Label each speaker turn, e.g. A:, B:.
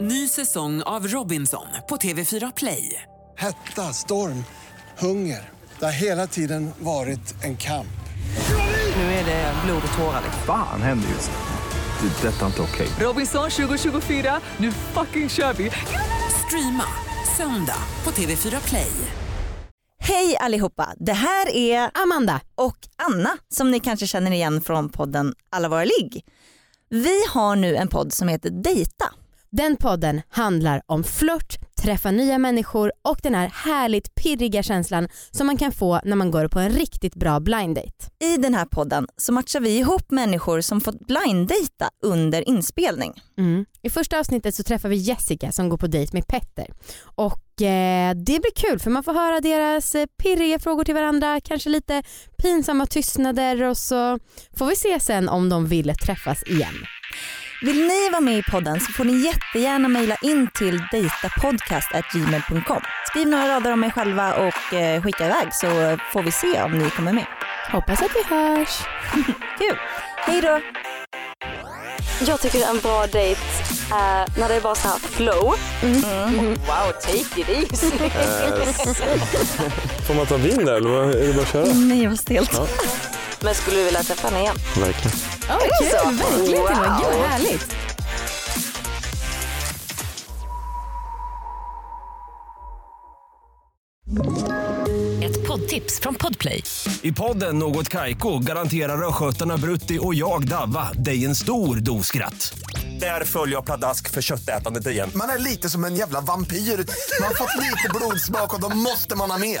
A: Ny säsong av Robinson på TV4 Play.
B: Hetta, storm, hunger. Det har hela tiden varit en kamp.
A: Nu är det Eh, blod och tårar. liksom.
C: Fan händer just nu. Det. är Detta är inte okej.
A: Robinson 2024, nu fucking kör vi! Streama söndag på TV4 Play.
D: Hej allihopa, det här är
E: Amanda.
D: och Anna som ni kanske känner igen från podden Alla våra ligg. Vi har nu en podd som heter Dejta.
E: Den podden handlar om flört, träffa nya människor och den här härligt pirriga känslan som man kan få när man går på en riktigt bra blind date.
D: I den här podden så matchar vi ihop människor som fått blinddejta under inspelning.
E: Mm. I första avsnittet så träffar vi Jessica som går på dejt med Petter. Och eh, det blir kul för man får höra deras eh, pirriga frågor till varandra, kanske lite pinsamma tystnader och så får vi se sen om de vill träffas igen.
D: Vill ni vara med i podden så får ni jättegärna mejla in till dejtapodcast.gmail.com. Skriv några rader om er själva och eh, skicka iväg så får vi se om ni kommer med.
E: Hoppas att vi hörs.
D: Kul! Hej då!
F: Jag tycker en bra dejt är när det är bara så här flow.
E: Mm.
F: Mm. Wow, take it easy.
G: Får man ta vin där eller vad- är det bara att köra?
D: Nej vad stelt.
F: Men skulle du vilja träffa henne igen?
G: Verkligen.
E: Oh, kul,
F: så?
E: verkligen till och med. Gud
F: Wow.
E: vad härligt.
H: Ett poddtips från Podplay.
I: I podden Något Kaiko garanterar östgötarna Brutti och jag, Davva, dig en stor dos skratt. Där följer jag pladask för köttätandet igen.
J: Man är lite som en jävla vampyr. Man har fått lite blodsmak och då måste man ha mer.